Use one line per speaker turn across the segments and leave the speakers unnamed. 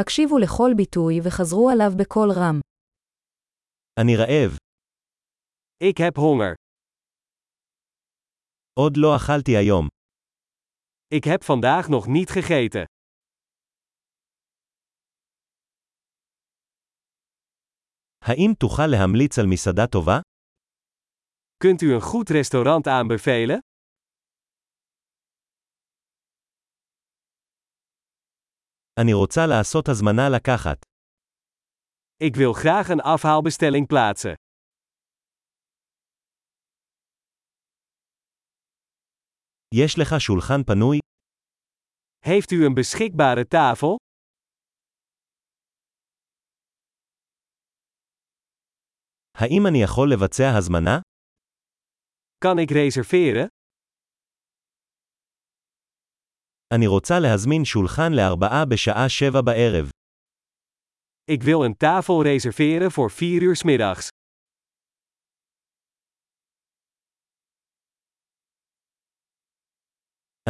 הקשיבו לכל ביטוי וחזרו עליו בקול רם.
אני רעב.
Ik heb honger.
עוד לא אכלתי היום.
Ik heb vandaag nog niet gegeten.
האם תוכל להמליץ על מסעדה טובה?
Kunt u een goed restaurant aanbevelen?
אני רוצה לעשות הזמנה לקחת.
Ik wil graag een afhaalbestelling plaatsen.
יש לך שולחן פנוי?
Heeft u een beschikbare tafel?
האם אני יכול לבצע הזמנה?
Kan ik reserveren?
אני רוצה להזמין שולחן לארבעה בשעה שבע בערב.
Ik wil een tafel reserveren voor 4 uur 's middags.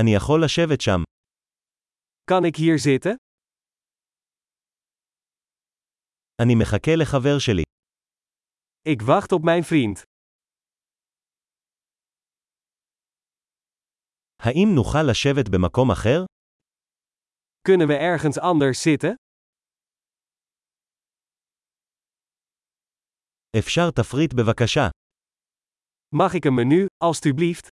אני יכול לשבת שם.
Kan ik hier zitten?
אני מחכה לחבר שלי.
Ik wacht op mijn vriend.
האם נוכל לשבת במקום אחר?
Kunnen we ergens anders zitten?
אפשר תפריט בבקשה.
Mag ik een menu, alstublieft?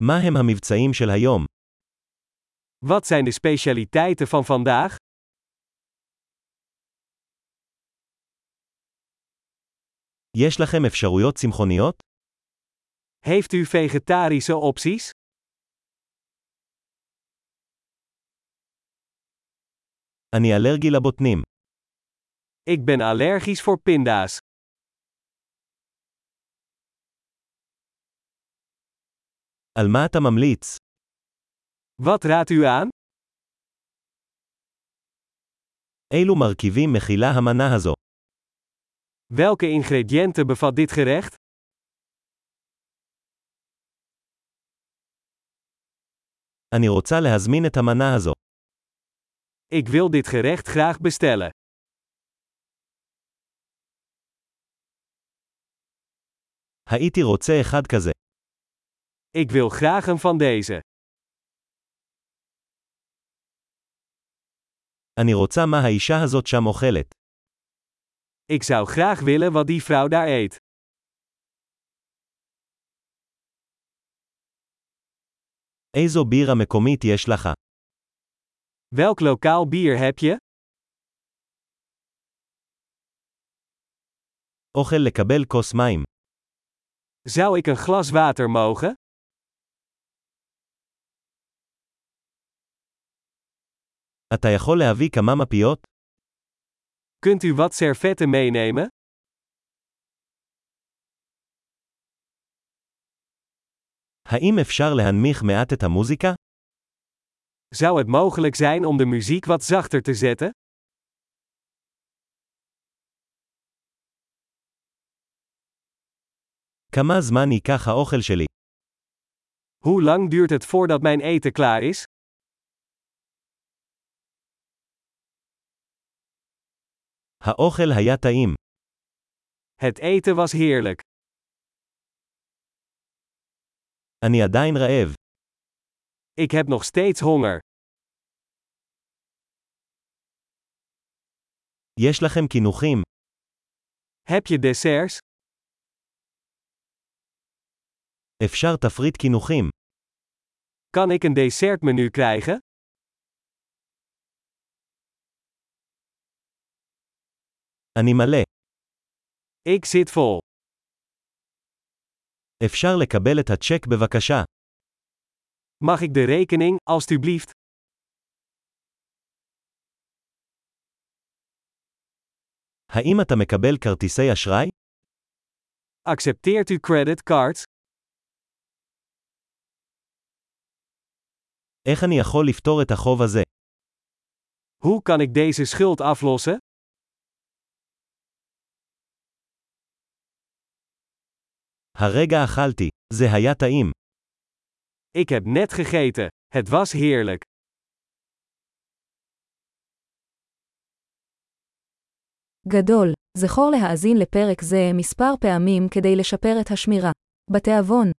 מה הם המבצעים של היום?
Wat zijn de specialiteiten van vandaag?
יש לכם אפשרויות צמחוניות?
Heeft u vegetarische opties?
אני אלרגי לבוטנים.
Ik ben allergisch voor pinda's.
על מה אתה ממליץ?
Wat raadt u aan?
אילו מרכיבים מכילה המנה הזו?
Welke ingrediënten bevat dit gerecht?
אני רוצה להזמין את המנה הזו.
Ik wil dit gerecht graag bestellen.
הייתי רוצה אחד כזה.
Ik wil graag een van deze.
אני רוצה מה האישה הזאת שם אוכלת.
Ik zou graag willen wat die vrouw daar eet.
איזו בירה מקומית יש לך?
Welk lokaal bier heb je?
אוכל לקבל כוס מים.
Zou ik een glas water mogen?
אתה יכול להביא כמה מפיות?
Kunt u wat servetten meenemen?
האם אפשר להנמיך מעט את המוזיקה?
Zou het mogelijk zijn om de muziek wat zachter te zetten?
כמה זמן ייקח האוכל שלי?
Hoe lang duurt het voordat mijn eten klaar is?
האוכל היה טעים.
Het eten was heerlijk.
אני עדיין רעב.
Ik heb nog steeds honger.
יש לכם קינוחים?
Heb je desserts?
אפשר תפריט קינוחים.
Kan ik een dessertmenu krijgen?
אני מלא.
Ik zit vol.
אפשר לקבל את הצ'ק בבקשה.
Mag ik de rekening, alstublieft?
האם אתה מקבל כרטיסי אשראי?
Accepteert u creditcards?
איך אני יכול לפתור את החוב הזה?
Hoe kan ik deze schuld aflossen?
הרגע אכלתי. זה היה טעים.
Ik heb net gegeten. Het was heerlijk.
גדול. זכור להאזין לפרק זה מספר פעמים כדי לשפר את השמירה. בתיאבון